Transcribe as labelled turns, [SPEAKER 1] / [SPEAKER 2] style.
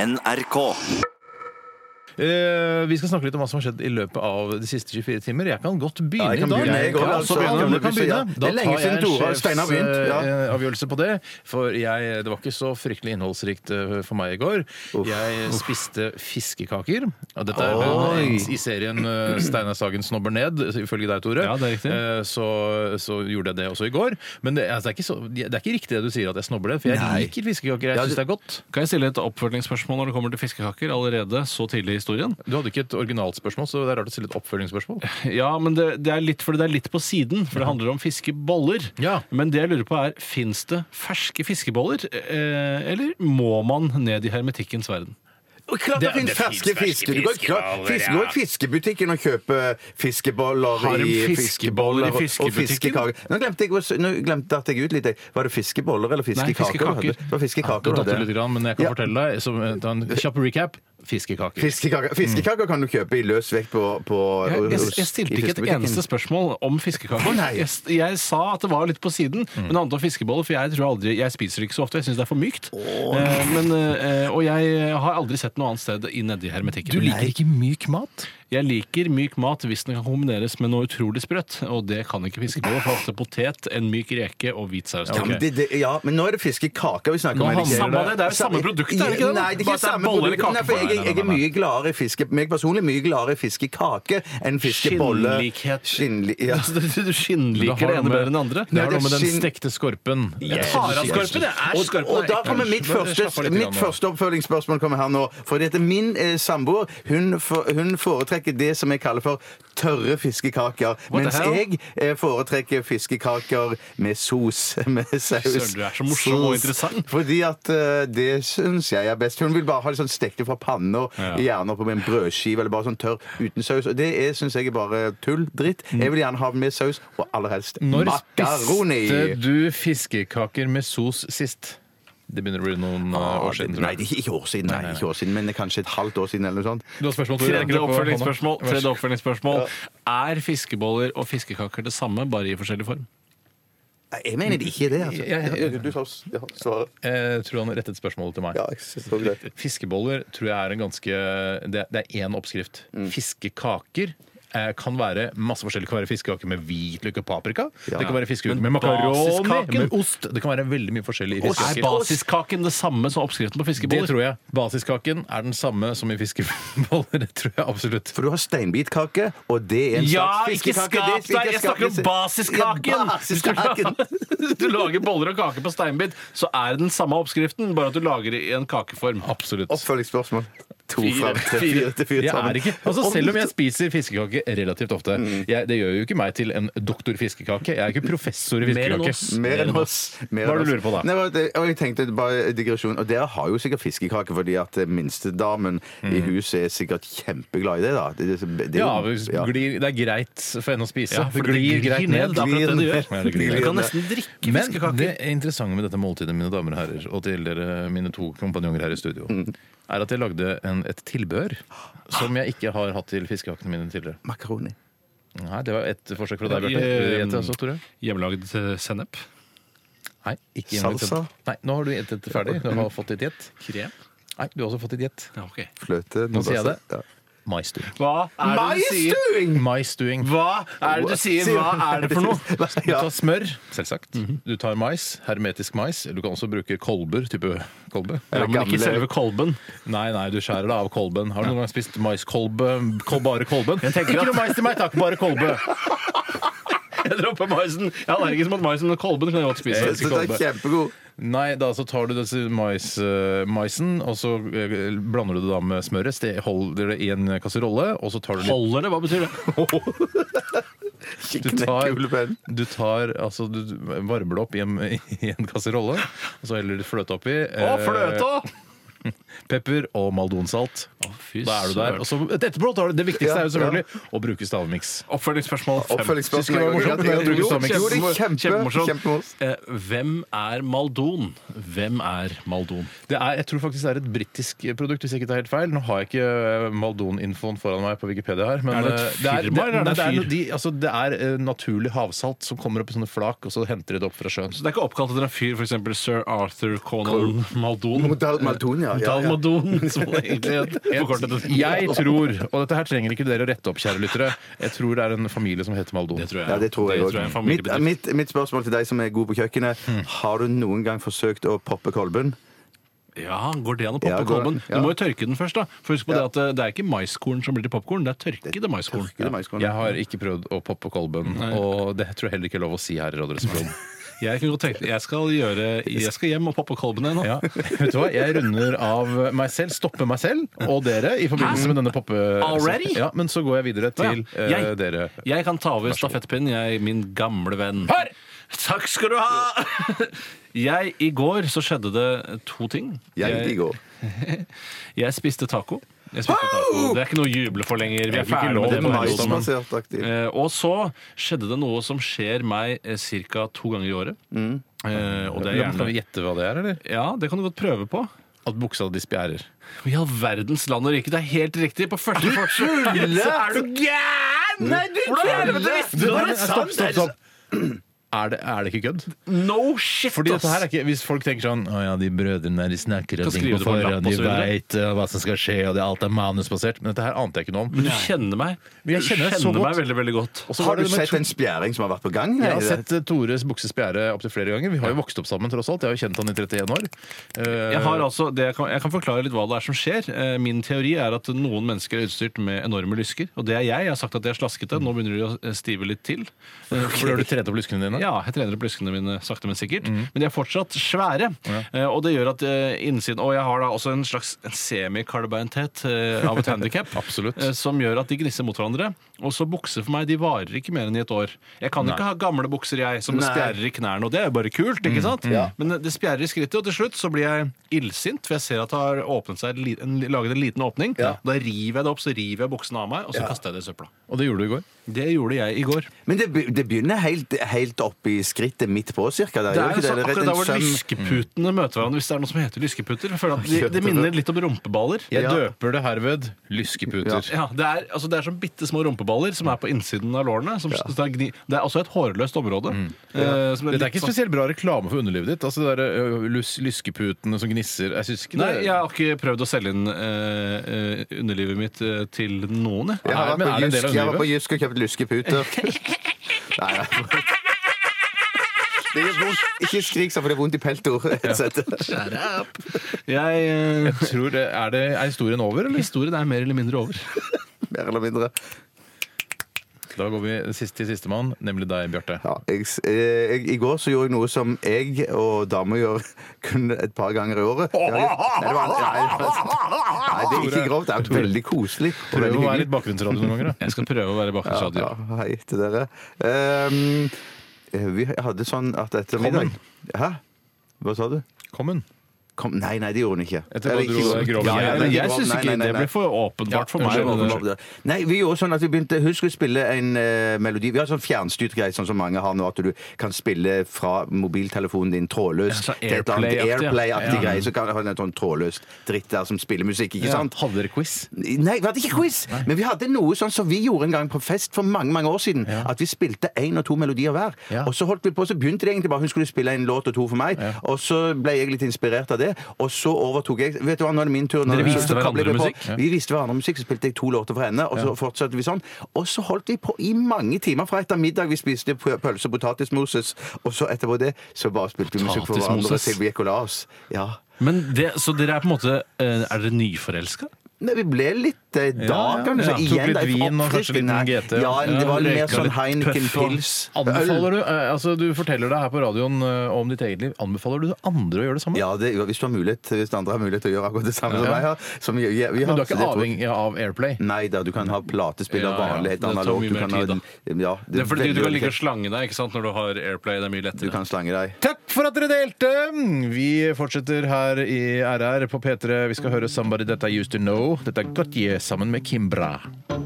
[SPEAKER 1] NRK.
[SPEAKER 2] Eh, vi skal snakke litt om hva som har skjedd i løpet av de siste 24 timer. Jeg kan godt begynne
[SPEAKER 3] Ja, jeg kan
[SPEAKER 2] i dag.
[SPEAKER 3] begynne, jeg også.
[SPEAKER 2] Ja,
[SPEAKER 3] Altså,
[SPEAKER 2] så begynner
[SPEAKER 3] begynner
[SPEAKER 2] du, kan
[SPEAKER 3] hvis du-
[SPEAKER 2] begynne.
[SPEAKER 3] ja. Det
[SPEAKER 2] Da
[SPEAKER 3] er lenge
[SPEAKER 2] tar jeg
[SPEAKER 3] siden Tore og Steinar har begynt, ja.
[SPEAKER 2] sjefs, eh, avgjørelse på det, for jeg, det var ikke så fryktelig innholdsrikt eh, for meg i går. Jeg spiste fiskekaker. Og dette er
[SPEAKER 3] Oi.
[SPEAKER 2] eh, i serien eh, Steinar Sagen snobber ned, ifølge deg, Tore.
[SPEAKER 4] Ja, det er riktig.
[SPEAKER 2] Eh, Så, så gjorde jeg det også i går. Men det, altså, det, er ikke så, det er ikke riktig det du sier, at jeg snobber det, for jeg
[SPEAKER 3] Nei.
[SPEAKER 2] liker fiskekaker. Jeg syns det er godt.
[SPEAKER 4] Kan jeg stille et oppfølgingsspørsmål når det kommer til fiskekaker allerede så tidlig i historien?
[SPEAKER 2] Du hadde ikke et originalt spørsmål, så det er rart å stille et oppfølgingsspørsmål.
[SPEAKER 4] Ja, men det, det, er litt, fordi det er litt på siden, for det handler om fiskeboller.
[SPEAKER 2] Ja.
[SPEAKER 4] Men det jeg lurer på er, fins det ferske fiskeboller, eh, eller må man ned i hermetikkens verden?
[SPEAKER 3] Og klart det,
[SPEAKER 2] Det-
[SPEAKER 3] finnes
[SPEAKER 2] det finnes
[SPEAKER 3] ferske fisker. Du går, klart, fisk, går i fiskebutikken og kjøper fiskeboller
[SPEAKER 4] Har de
[SPEAKER 3] i
[SPEAKER 4] fiskeboller i
[SPEAKER 3] og- og
[SPEAKER 4] fiskebutikken?
[SPEAKER 3] fiskekaker. Nå glemte jeg, også- nå glemte jeg at jeg ut litt. jeg. Var det fiskeboller eller fiskekaker?
[SPEAKER 4] fiskekaker.
[SPEAKER 3] du hadde? Det var
[SPEAKER 2] Ja, det
[SPEAKER 3] fiskekaker du
[SPEAKER 2] datt jo litt,
[SPEAKER 3] hadde.
[SPEAKER 2] grann, men jeg kan
[SPEAKER 3] Ja.
[SPEAKER 2] fortelle deg som et- en kjapp recap fiskekaker.
[SPEAKER 3] Fiskekaker, fiskekaker kan du kjøpe i løs vekt på, på
[SPEAKER 4] Jeg, jeg,
[SPEAKER 3] hos- i
[SPEAKER 4] jeg stilte ikke et
[SPEAKER 3] fiskebutikken.
[SPEAKER 4] eneste spørsmål om fiskekaker.
[SPEAKER 3] Å, nei. Mm.
[SPEAKER 4] jeg, jeg sa at det var litt på siden, men det handlet om fiskeboller, for jeg tror aldri, jeg spiser ikke så ofte. Jeg syns det er for mykt. Eh, men, eh, og jeg har aldri sett noe annet sted i nedi hermetikken.
[SPEAKER 2] Du liker ikke myk mat?
[SPEAKER 4] Jeg liker myk mat hvis den kan kombineres med noe utrolig sprøtt, og det kan ikke fiskeboller. For ofte potet, en myk reke og hvit saus.
[SPEAKER 3] Ja, men det, det, ja, men nå er det fiskekaker vi snakker
[SPEAKER 2] Nå
[SPEAKER 3] om. er det ikke?
[SPEAKER 4] handler det- det er jo samme produkt, er det ikke det?
[SPEAKER 3] Nei, det er ikke
[SPEAKER 4] Bare at det er
[SPEAKER 3] samme
[SPEAKER 4] boller
[SPEAKER 3] produkt.
[SPEAKER 4] eller kake
[SPEAKER 3] Nei, for
[SPEAKER 4] på.
[SPEAKER 3] jeg,
[SPEAKER 4] Nei, nei,
[SPEAKER 3] jeg er
[SPEAKER 4] nei, nei.
[SPEAKER 3] mye gladere i fiske... Meg personlig er mye gladere i fiskekake enn fiskebolle.
[SPEAKER 4] Skinnlikhet.
[SPEAKER 3] Skinnli, ja.
[SPEAKER 4] Du, du skinnliker det ene bedre enn det andre.
[SPEAKER 2] Det
[SPEAKER 3] Nei,
[SPEAKER 2] har noe med
[SPEAKER 3] det
[SPEAKER 2] den
[SPEAKER 3] skinn-
[SPEAKER 2] stekte skorpen.
[SPEAKER 4] Jeg tar av skorpen, jeg. Er
[SPEAKER 3] Og,
[SPEAKER 4] skorpen
[SPEAKER 3] og da
[SPEAKER 4] er
[SPEAKER 3] kommer mitt
[SPEAKER 2] Men
[SPEAKER 3] første,
[SPEAKER 2] slapp av litt grann nå.
[SPEAKER 3] mitt første oppfølgingsspørsmål kommer her nå. For dette, min eh, samboer hun, for, hun foretrekker det som jeg kaller for tørre fiskekaker.
[SPEAKER 4] What the
[SPEAKER 3] Mens
[SPEAKER 4] hell?
[SPEAKER 3] jeg eh, foretrekker fiskekaker med sos. Med saus.
[SPEAKER 4] Søren, du er så morsom og
[SPEAKER 3] Sos.
[SPEAKER 4] interessant.
[SPEAKER 3] Fordi at eh, det syns jeg er best. Hun vil bare ha det sånn stekt fra panna,
[SPEAKER 4] Ja.
[SPEAKER 3] gjerne på en brødskive, eller bare sånn tørr uten saus. Og det syns jeg er bare tull. Dritt. Jeg vil gjerne ha det med saus, og aller helst
[SPEAKER 2] Når
[SPEAKER 3] makaroni.
[SPEAKER 2] spiste du fiskekaker med sos sist? Det begynner å bli noen eh, år siden. tror
[SPEAKER 3] Nei,
[SPEAKER 2] jeg.
[SPEAKER 3] Ah, det er ikke år siden, nei, ikke år siden, men det er kanskje et halvt år siden. eller noe sånt.
[SPEAKER 2] Du har spørsmål, Tore?
[SPEAKER 4] Tredje
[SPEAKER 2] Rekker opp hånda?
[SPEAKER 4] oppfølgingsspørsmål.
[SPEAKER 2] Vær så
[SPEAKER 4] Tredje oppfølgingsspørsmål. Er fiskeboller og fiskekaker det samme, bare i forskjellig form?
[SPEAKER 3] Nei, Jeg mener det ikke er det.
[SPEAKER 2] Ja, ja, ja.
[SPEAKER 3] altså. Du tar ja, svaret.
[SPEAKER 2] god. Jeg Eh, tror han rettet spørsmålet til meg.
[SPEAKER 3] Ja, jeg så det.
[SPEAKER 2] Fiskeboller tror jeg er en ganske Det, det er én oppskrift.
[SPEAKER 3] Mm.
[SPEAKER 2] Fiskekaker eh, kan være masse forskjellig. Det kan være fiskekaker med hvitløk og paprika. Det kan være fiskekaker med makaroni,
[SPEAKER 4] basiskaken?
[SPEAKER 2] med ost. Det kan være veldig mye forskjellig i
[SPEAKER 4] Er
[SPEAKER 2] fiskekaker.
[SPEAKER 4] basiskaken det samme som oppskriften på
[SPEAKER 2] Det
[SPEAKER 4] fiskeboller?
[SPEAKER 2] tror jeg. Basiskaken er den samme som i fiskeboller. Det tror jeg absolutt.
[SPEAKER 3] For du har steinbitkake, og det er en
[SPEAKER 4] Ja,
[SPEAKER 3] slags
[SPEAKER 4] ikke
[SPEAKER 3] fiskekake.
[SPEAKER 4] skap
[SPEAKER 3] Det er
[SPEAKER 4] deg! Jeg
[SPEAKER 3] skap-
[SPEAKER 4] snakker om basiskaken!
[SPEAKER 3] Ja, basiskaken.
[SPEAKER 4] Hvis du lager boller og kake på steinbit, så er det den samme oppskriften, bare at du lager det i en kakeform.
[SPEAKER 2] Absolutt.
[SPEAKER 3] Oppfølgingsspørsmål. To
[SPEAKER 4] Fire.
[SPEAKER 3] fra tre, fire til fire
[SPEAKER 2] Jeg
[SPEAKER 3] sammen.
[SPEAKER 2] er ikke, altså selv om jeg spiser fiskekake relativt ofte
[SPEAKER 3] Mm.
[SPEAKER 2] jeg, Det gjør jo ikke meg til en doktor fiskekake. Jeg er ikke professor i
[SPEAKER 4] Mer enn
[SPEAKER 2] fiskekake.
[SPEAKER 4] oss.
[SPEAKER 3] Mer enn oss. Mer
[SPEAKER 2] Hva er det du
[SPEAKER 3] enn oss.
[SPEAKER 2] lurer på da?
[SPEAKER 3] Nei, bare det- og jeg tenkte bare digresjon. Og dere har jo sikkert fiskekake, fordi at minstedamen i huset er sikkert kjempeglad i det. da. Det, det, det, det,
[SPEAKER 2] Mm. Ja, hvis glir, det er greit for henne å spise.
[SPEAKER 4] Ja,
[SPEAKER 2] det
[SPEAKER 4] for det
[SPEAKER 2] glir greit ned.
[SPEAKER 4] Det er akkurat det det gjør.
[SPEAKER 2] Ja, det glir ned.
[SPEAKER 4] Du kan nesten drikke
[SPEAKER 2] Men
[SPEAKER 4] fiskekaker.
[SPEAKER 2] det interessante med dette måltidet, mine damer og herrer, og til dere, mine to kompanjonger her i studio, er at jeg lagde en, et tilbehør som jeg ikke har hatt til fiskekakene mine tidligere.
[SPEAKER 3] Makaroni.
[SPEAKER 2] Nei, Det var et forsøk fra deg,
[SPEAKER 4] I,
[SPEAKER 2] Bjarte. Vil du
[SPEAKER 4] eh,
[SPEAKER 2] gjette også, Tore?
[SPEAKER 4] Hjemmelagd eh, sennep.
[SPEAKER 2] Nei, ikke
[SPEAKER 3] Salsa?
[SPEAKER 2] invitet. Nei, nå har du gjettet ferdig. Du har fått ditt gjett.
[SPEAKER 4] Krem?
[SPEAKER 2] Nei, du har også fått ditt gjett.
[SPEAKER 4] Ja, ok.
[SPEAKER 3] Fløte.
[SPEAKER 2] Nå sier jeg det.
[SPEAKER 3] Ja.
[SPEAKER 2] Maisstuing.
[SPEAKER 4] Hva er det du sier?
[SPEAKER 3] Maisstuing!
[SPEAKER 2] Maisstuing.
[SPEAKER 4] Hva er det du sier? Hva er det for noe?
[SPEAKER 2] Du tar smør, selvsagt. Du tar mais, hermetisk mais. Du kan også bruke kolber, type kolbe.
[SPEAKER 4] Ja, men ikke
[SPEAKER 3] gamle-
[SPEAKER 4] selve kolben.
[SPEAKER 2] Nei, nei, du skjærer det av kolben. Har du noen gang spist maiskolbe? Kol, bare kolben? Ikke noe mais til meg, takk. Bare kolbe.
[SPEAKER 4] Jeg dropper maisen. Jeg er allergisk mot maisen, men kolben kan jeg godt spise.
[SPEAKER 3] Så det er kjempegod.
[SPEAKER 2] Nei, da så tar du disse mais, eh, maisen, og så eh, blander du det da med smøret. Ste- Holder det i en kasserolle, og så tar du litt
[SPEAKER 4] Holder det? Hva betyr det?
[SPEAKER 2] du tar, du tar altså Du varmer det opp i en, i en kasserolle, og så heller du fløte oppi.
[SPEAKER 4] Å,
[SPEAKER 2] eh,
[SPEAKER 4] fløta!
[SPEAKER 2] Pepper og maldonsalt.
[SPEAKER 4] Å, fy
[SPEAKER 2] Da er du der.
[SPEAKER 4] søren.
[SPEAKER 2] Og så, etterpå tar du Det viktigste
[SPEAKER 3] Ja,
[SPEAKER 2] er jo selvfølgelig å bruke stavmiks.
[SPEAKER 4] Oppfølgingsspørsmål fem.
[SPEAKER 3] Oppfølgingsspørsmål.
[SPEAKER 2] Synes ikke det var morsomt, men jeg tror ikke Stamix-
[SPEAKER 3] Jo, det er kjempe-
[SPEAKER 4] Kjempemorsomt.
[SPEAKER 3] kjempemorsomt.
[SPEAKER 4] Eh, Hvem er Maldon? Hvem er Maldon?
[SPEAKER 2] Det er, jeg tror faktisk det er et britisk produkt, hvis jeg ikke tar helt feil. Nå har jeg ikke eh, Maldon-infoen foran meg på Wikipedia her. Men
[SPEAKER 4] Er det et
[SPEAKER 2] eh,
[SPEAKER 4] firma, eller
[SPEAKER 2] nei,
[SPEAKER 4] er det en
[SPEAKER 2] det,
[SPEAKER 4] fyr?
[SPEAKER 2] er, de, altså, det er eh, naturlig havsalt som kommer opp i sånne flak, og så henter de det opp fra sjøen.
[SPEAKER 4] Så det er ikke oppkalt etter en fyr, f.eks. sir Arthur Conan Maldon?
[SPEAKER 3] Modal Maldon, ja, ja, ja.
[SPEAKER 4] Dalmadon, som det egentlig het. Forkortet det.
[SPEAKER 2] Jeg tror, og dette her trenger ikke dere å rette opp, kjære lyttere, jeg tror det er en familie som heter Maldon.
[SPEAKER 4] Det tror jeg.
[SPEAKER 3] Ja, det tror jeg
[SPEAKER 4] er en
[SPEAKER 3] òg. Mitt,
[SPEAKER 4] familiebedrift.
[SPEAKER 3] mitt, mitt spørsmål til deg som er god på kjøkkenet, har du noen gang forsøkt å poppe kolben?
[SPEAKER 4] Ja, går det an å
[SPEAKER 3] Ja,
[SPEAKER 4] poppe
[SPEAKER 3] går-
[SPEAKER 4] kolben?
[SPEAKER 3] ja.
[SPEAKER 4] Du må jo tørke den først, da. For husk på
[SPEAKER 3] Ja.
[SPEAKER 4] det at eh, det er ikke maiskorn som blir til popkorn, det er tørkede maiskorn.
[SPEAKER 3] Ikke det, Maiskorn?
[SPEAKER 2] Jeg har ikke prøvd å poppe kolben, og det tror jeg heller ikke er lov å si her i Radioresepsjonen.
[SPEAKER 4] Jeg kunne godt tenkt jeg skal, gjøre, jeg skal hjem og poppe kolben ennå.
[SPEAKER 2] Ja. Vet du hva, jeg runder av meg selv, stopper meg selv og dere i forbindelse med denne poppe...
[SPEAKER 4] Already?
[SPEAKER 2] Ja, men så går jeg videre til eh,
[SPEAKER 4] Jeg,
[SPEAKER 2] dere.
[SPEAKER 4] jeg kan ta over stafettpinnen, jeg, min gamle venn.
[SPEAKER 2] Her!
[SPEAKER 4] Takk skal du ha! Jeg, I går så skjedde det to ting.
[SPEAKER 3] Jeg i går.
[SPEAKER 4] jeg spiste taco. Jeg spiste taco. Det er ikke noe å juble for lenger. Vi er
[SPEAKER 2] ikke
[SPEAKER 4] ferdig
[SPEAKER 2] lov
[SPEAKER 4] med det.
[SPEAKER 2] til
[SPEAKER 4] på
[SPEAKER 2] maisdamen.
[SPEAKER 4] ungdommen.
[SPEAKER 3] Maisbasert aktiv.
[SPEAKER 4] Eh, og så skjedde det noe som skjer meg eh, ca. to ganger i året. Eh, og det
[SPEAKER 2] Kan vi
[SPEAKER 4] er gjerne
[SPEAKER 2] gjette hva det er, eller?
[SPEAKER 4] Ja, det kan du godt prøve på.
[SPEAKER 2] At buksa di spjærer.
[SPEAKER 4] I all verdens land og rike, det er helt riktig! På første forsøk! Er du Mm. gæren?! Nei, du
[SPEAKER 2] Stopp, stopp, stopp! Er det, er det ikke kødd?
[SPEAKER 4] No shit,
[SPEAKER 2] Fordi dette her er
[SPEAKER 4] ass!
[SPEAKER 2] ikke, Hvis folk tenker sånn Å ja, de brødrene der, de snakker og
[SPEAKER 4] Kan
[SPEAKER 2] ting
[SPEAKER 4] skrive
[SPEAKER 2] på
[SPEAKER 4] det på en lapp
[SPEAKER 2] forhånd, de
[SPEAKER 4] og så videre.
[SPEAKER 2] veit hva som skal skje, og det, alt er manusbasert Men dette her ante jeg ikke noe om.
[SPEAKER 4] Men du kjenner meg.
[SPEAKER 2] Jeg kjenner deg så
[SPEAKER 4] kjenner meg
[SPEAKER 2] godt.
[SPEAKER 4] veldig, veldig godt.
[SPEAKER 2] Og så var
[SPEAKER 3] Har du
[SPEAKER 2] det nummer
[SPEAKER 3] sett
[SPEAKER 2] to.
[SPEAKER 3] en spjæring som har vært på gang?
[SPEAKER 2] Jeg har sett eh, Tores bukse spjære opptil flere ganger. Vi har jo vokst opp sammen, tross alt. Jeg har jo kjent han i 31 år. Eh,
[SPEAKER 4] Jeg, har altså, det jeg, kan, jeg kan forklare litt hva det er som skjer. Eh, Min teori er at noen mennesker er utstyrt med enorme lysker. Og det er jeg. Jeg har sagt at de er slaskete. Nå begynner de å eh, stive litt til. Eh,
[SPEAKER 2] øh, For da har du trent opp lyskene dine?
[SPEAKER 4] Ja, jeg trener opp lyskene mine sakte, men sikkert. Men de er fortsatt svære. Eh, Og det gjør at eh, innsiden Og jeg har da også en slags semikarbeinthet eh, av et handikap.
[SPEAKER 2] Absolutt.
[SPEAKER 4] Som gjør at de gnisser mot hverandre. Og så bukser for meg, de varer ikke mer enn i et år. Jeg kan ikke ha gamle bukser, jeg, som
[SPEAKER 3] Nei.
[SPEAKER 4] spjærer i knærne. Og det er jo bare kult, ikke sant? Men eh, det spjærer i skrittet, og til slutt så blir jeg illsint, for jeg ser at det har åpnet seg, en li- en, laget en liten åpning. Da river jeg det opp, så river jeg buksene av meg, og så kaster jeg det i søpla.
[SPEAKER 2] Og det gjorde du i går?
[SPEAKER 4] Det gjorde jeg i går.
[SPEAKER 3] Men det, be- det begynner helt, helt opp i skrittet midt på, cirka. Der.
[SPEAKER 4] Det
[SPEAKER 3] gjør
[SPEAKER 4] er
[SPEAKER 3] ikke
[SPEAKER 4] jo sånn
[SPEAKER 3] Rett
[SPEAKER 4] akkurat
[SPEAKER 3] en
[SPEAKER 4] der hvor
[SPEAKER 3] søm-
[SPEAKER 4] lyskeputene møter hverandre, hvis det er noe som heter lyskeputer. Jeg føler at de, det minner litt om rumpeballer.
[SPEAKER 2] Jeg
[SPEAKER 3] Ja.
[SPEAKER 2] døper det herved lyskeputer.
[SPEAKER 4] Ja, det er, altså det er som bitte små rumpeballer som er på innsiden av lårene. Som, så det, er gni, det er også et hårløst område.
[SPEAKER 3] Mm.
[SPEAKER 4] eh, som
[SPEAKER 2] Dette er
[SPEAKER 4] litt
[SPEAKER 2] ikke
[SPEAKER 4] sånn-
[SPEAKER 2] spesielt bra reklame for underlivet ditt. Altså det der, ø, lys, Lyskeputene som gnisser Jeg syns ikke det
[SPEAKER 4] Nei, jeg har ikke prøvd å selge inn eh, eh, underlivet mitt eh, til noen. jeg.
[SPEAKER 3] Jeg har
[SPEAKER 2] Men er
[SPEAKER 3] vært
[SPEAKER 2] det en del av
[SPEAKER 3] på Jysk- jeg har vært på
[SPEAKER 2] livet?
[SPEAKER 3] Jysk og kjøpt lyskeputer. Nei, nei. Det gjør vondt. Ikke skrik sånn, for det er vondt i peltor.
[SPEAKER 4] Jeg, eh,
[SPEAKER 2] Jeg tror det, er, det, er historien over, eller?
[SPEAKER 4] historien er mer eller mindre over.
[SPEAKER 3] Mer eller mindre.
[SPEAKER 2] Da går vi sist til sistemann, nemlig deg, Bjarte.
[SPEAKER 3] Ja, jeg, s- eh, jeg, I går så gjorde jeg noe som jeg og damer gjør kun et par ganger i året. Det var litt- Nei, det var, nei, det var- nei, det er ikke grovt. Det er veldig koselig
[SPEAKER 2] Prøv
[SPEAKER 3] og veldig
[SPEAKER 2] å være
[SPEAKER 3] hyggelig.
[SPEAKER 2] litt bakgrunnsradio noen ganger. da.
[SPEAKER 4] Jeg skal prøve å være bakgrunnsradio.
[SPEAKER 3] Ja, hei til dere. Ehm, eh, vi hadde sånn at etter middag Hæ? Hva sa du?
[SPEAKER 2] Kom hun.
[SPEAKER 3] Kom, nei, nei, det gjorde hun ikke.
[SPEAKER 2] Etter hva
[SPEAKER 3] Eller ikke
[SPEAKER 2] dro
[SPEAKER 3] sånn.
[SPEAKER 2] Grov-
[SPEAKER 4] Ja,
[SPEAKER 3] Ja,
[SPEAKER 4] jeg
[SPEAKER 3] nei,
[SPEAKER 4] jeg
[SPEAKER 3] Grov-
[SPEAKER 4] syns
[SPEAKER 3] nei,
[SPEAKER 4] ikke
[SPEAKER 3] nei, nei,
[SPEAKER 4] det
[SPEAKER 3] nei.
[SPEAKER 4] ble for åpenbart for
[SPEAKER 2] Ja,
[SPEAKER 4] meg.
[SPEAKER 2] unnskyld,
[SPEAKER 4] men-
[SPEAKER 2] unnskyld.
[SPEAKER 3] Nei, vi gjorde sånn at vi begynte Hun skulle spille en eh, melodi. Vi har sånn fjernstyrt greie, sånn som mange har nå, at du kan spille fra mobiltelefonen din trådløst.
[SPEAKER 4] Ja, sånn
[SPEAKER 3] til et eller annet
[SPEAKER 4] Airplay-aktig, ja.
[SPEAKER 3] Airplay-aktig
[SPEAKER 4] Ja.
[SPEAKER 3] greie. Så kan du ha en sånn trådløst dritt der som spiller musikk, ikke
[SPEAKER 2] Ja.
[SPEAKER 3] sant?
[SPEAKER 2] Hadde dere quiz?
[SPEAKER 3] Nei, vi hadde ikke quiz, men vi hadde noe sånn som vi gjorde en gang på fest for mange mange år siden. At vi spilte én og to melodier hver.
[SPEAKER 2] Ja.
[SPEAKER 3] Og så holdt vi på, så begynte det egentlig bare hun skulle spille en låt og to for meg. Og så ble jeg litt inspirert av det, og så overtok jeg. Vet du hva, nå er det min tur. Nå,
[SPEAKER 4] Dere
[SPEAKER 3] så-
[SPEAKER 4] viste
[SPEAKER 3] så
[SPEAKER 4] hverandre
[SPEAKER 3] koblet vi på.
[SPEAKER 4] musikk? Ja.
[SPEAKER 3] Vi viste hverandre musikk, så spilte jeg to låter for henne, og så fortsatte vi sånn. Og så holdt vi på i mange timer fra etter middag. Vi spiste pø- pølse og potatismoses, og så etterpå det så bare spilte vi musikk for hverandre.
[SPEAKER 4] Potatismoses?
[SPEAKER 3] Silvie Colas. Ja.
[SPEAKER 4] Men det, så dere er på en måte eh, Er dere nyforelska?
[SPEAKER 3] Nei, vi ble litt eh, da,
[SPEAKER 2] Ja, ja,
[SPEAKER 3] kan du
[SPEAKER 2] ja.
[SPEAKER 3] si.
[SPEAKER 2] Tok litt
[SPEAKER 3] Igjen, det er for
[SPEAKER 2] vin og kanskje litt
[SPEAKER 3] oppfriskende.
[SPEAKER 2] GT.
[SPEAKER 3] Ja,
[SPEAKER 2] Ja,
[SPEAKER 3] det var mer
[SPEAKER 4] røyka
[SPEAKER 3] sånn
[SPEAKER 4] litt
[SPEAKER 3] Heineken
[SPEAKER 4] puff og-
[SPEAKER 3] Pils. Øl.
[SPEAKER 2] Anbefaler du, eh, altså Du forteller deg her på radioen eh, om ditt eget liv. Anbefaler du andre å gjøre det samme?
[SPEAKER 3] Ja, det, hvis, du har mulighet, hvis andre har mulighet til å gjøre akkurat det samme som jeg har. Som vi, vi har
[SPEAKER 2] Men du er
[SPEAKER 3] så
[SPEAKER 2] ikke
[SPEAKER 3] det tror jeg-
[SPEAKER 2] avhengig av Airplay?
[SPEAKER 3] Nei da, du kan ha platespiller
[SPEAKER 4] Ja, ja.
[SPEAKER 3] vanlig, helt
[SPEAKER 4] Det tar
[SPEAKER 3] analog.
[SPEAKER 4] mye
[SPEAKER 3] Du
[SPEAKER 4] mer
[SPEAKER 3] kan ha,
[SPEAKER 4] tid, da.
[SPEAKER 3] ja,
[SPEAKER 4] Det er fordi
[SPEAKER 3] veldig
[SPEAKER 4] du kan ligge
[SPEAKER 3] ulike-
[SPEAKER 4] og slange deg ikke sant, når du har Airplay. Det er mye
[SPEAKER 3] Du
[SPEAKER 4] lettere.
[SPEAKER 3] kan slange deg.
[SPEAKER 2] Takk for at dere delte! Vi fortsetter her i RR på P3. Vi skal høre 'Somebody That I Used To Know' Dette er Gautier sammen med Kimbra.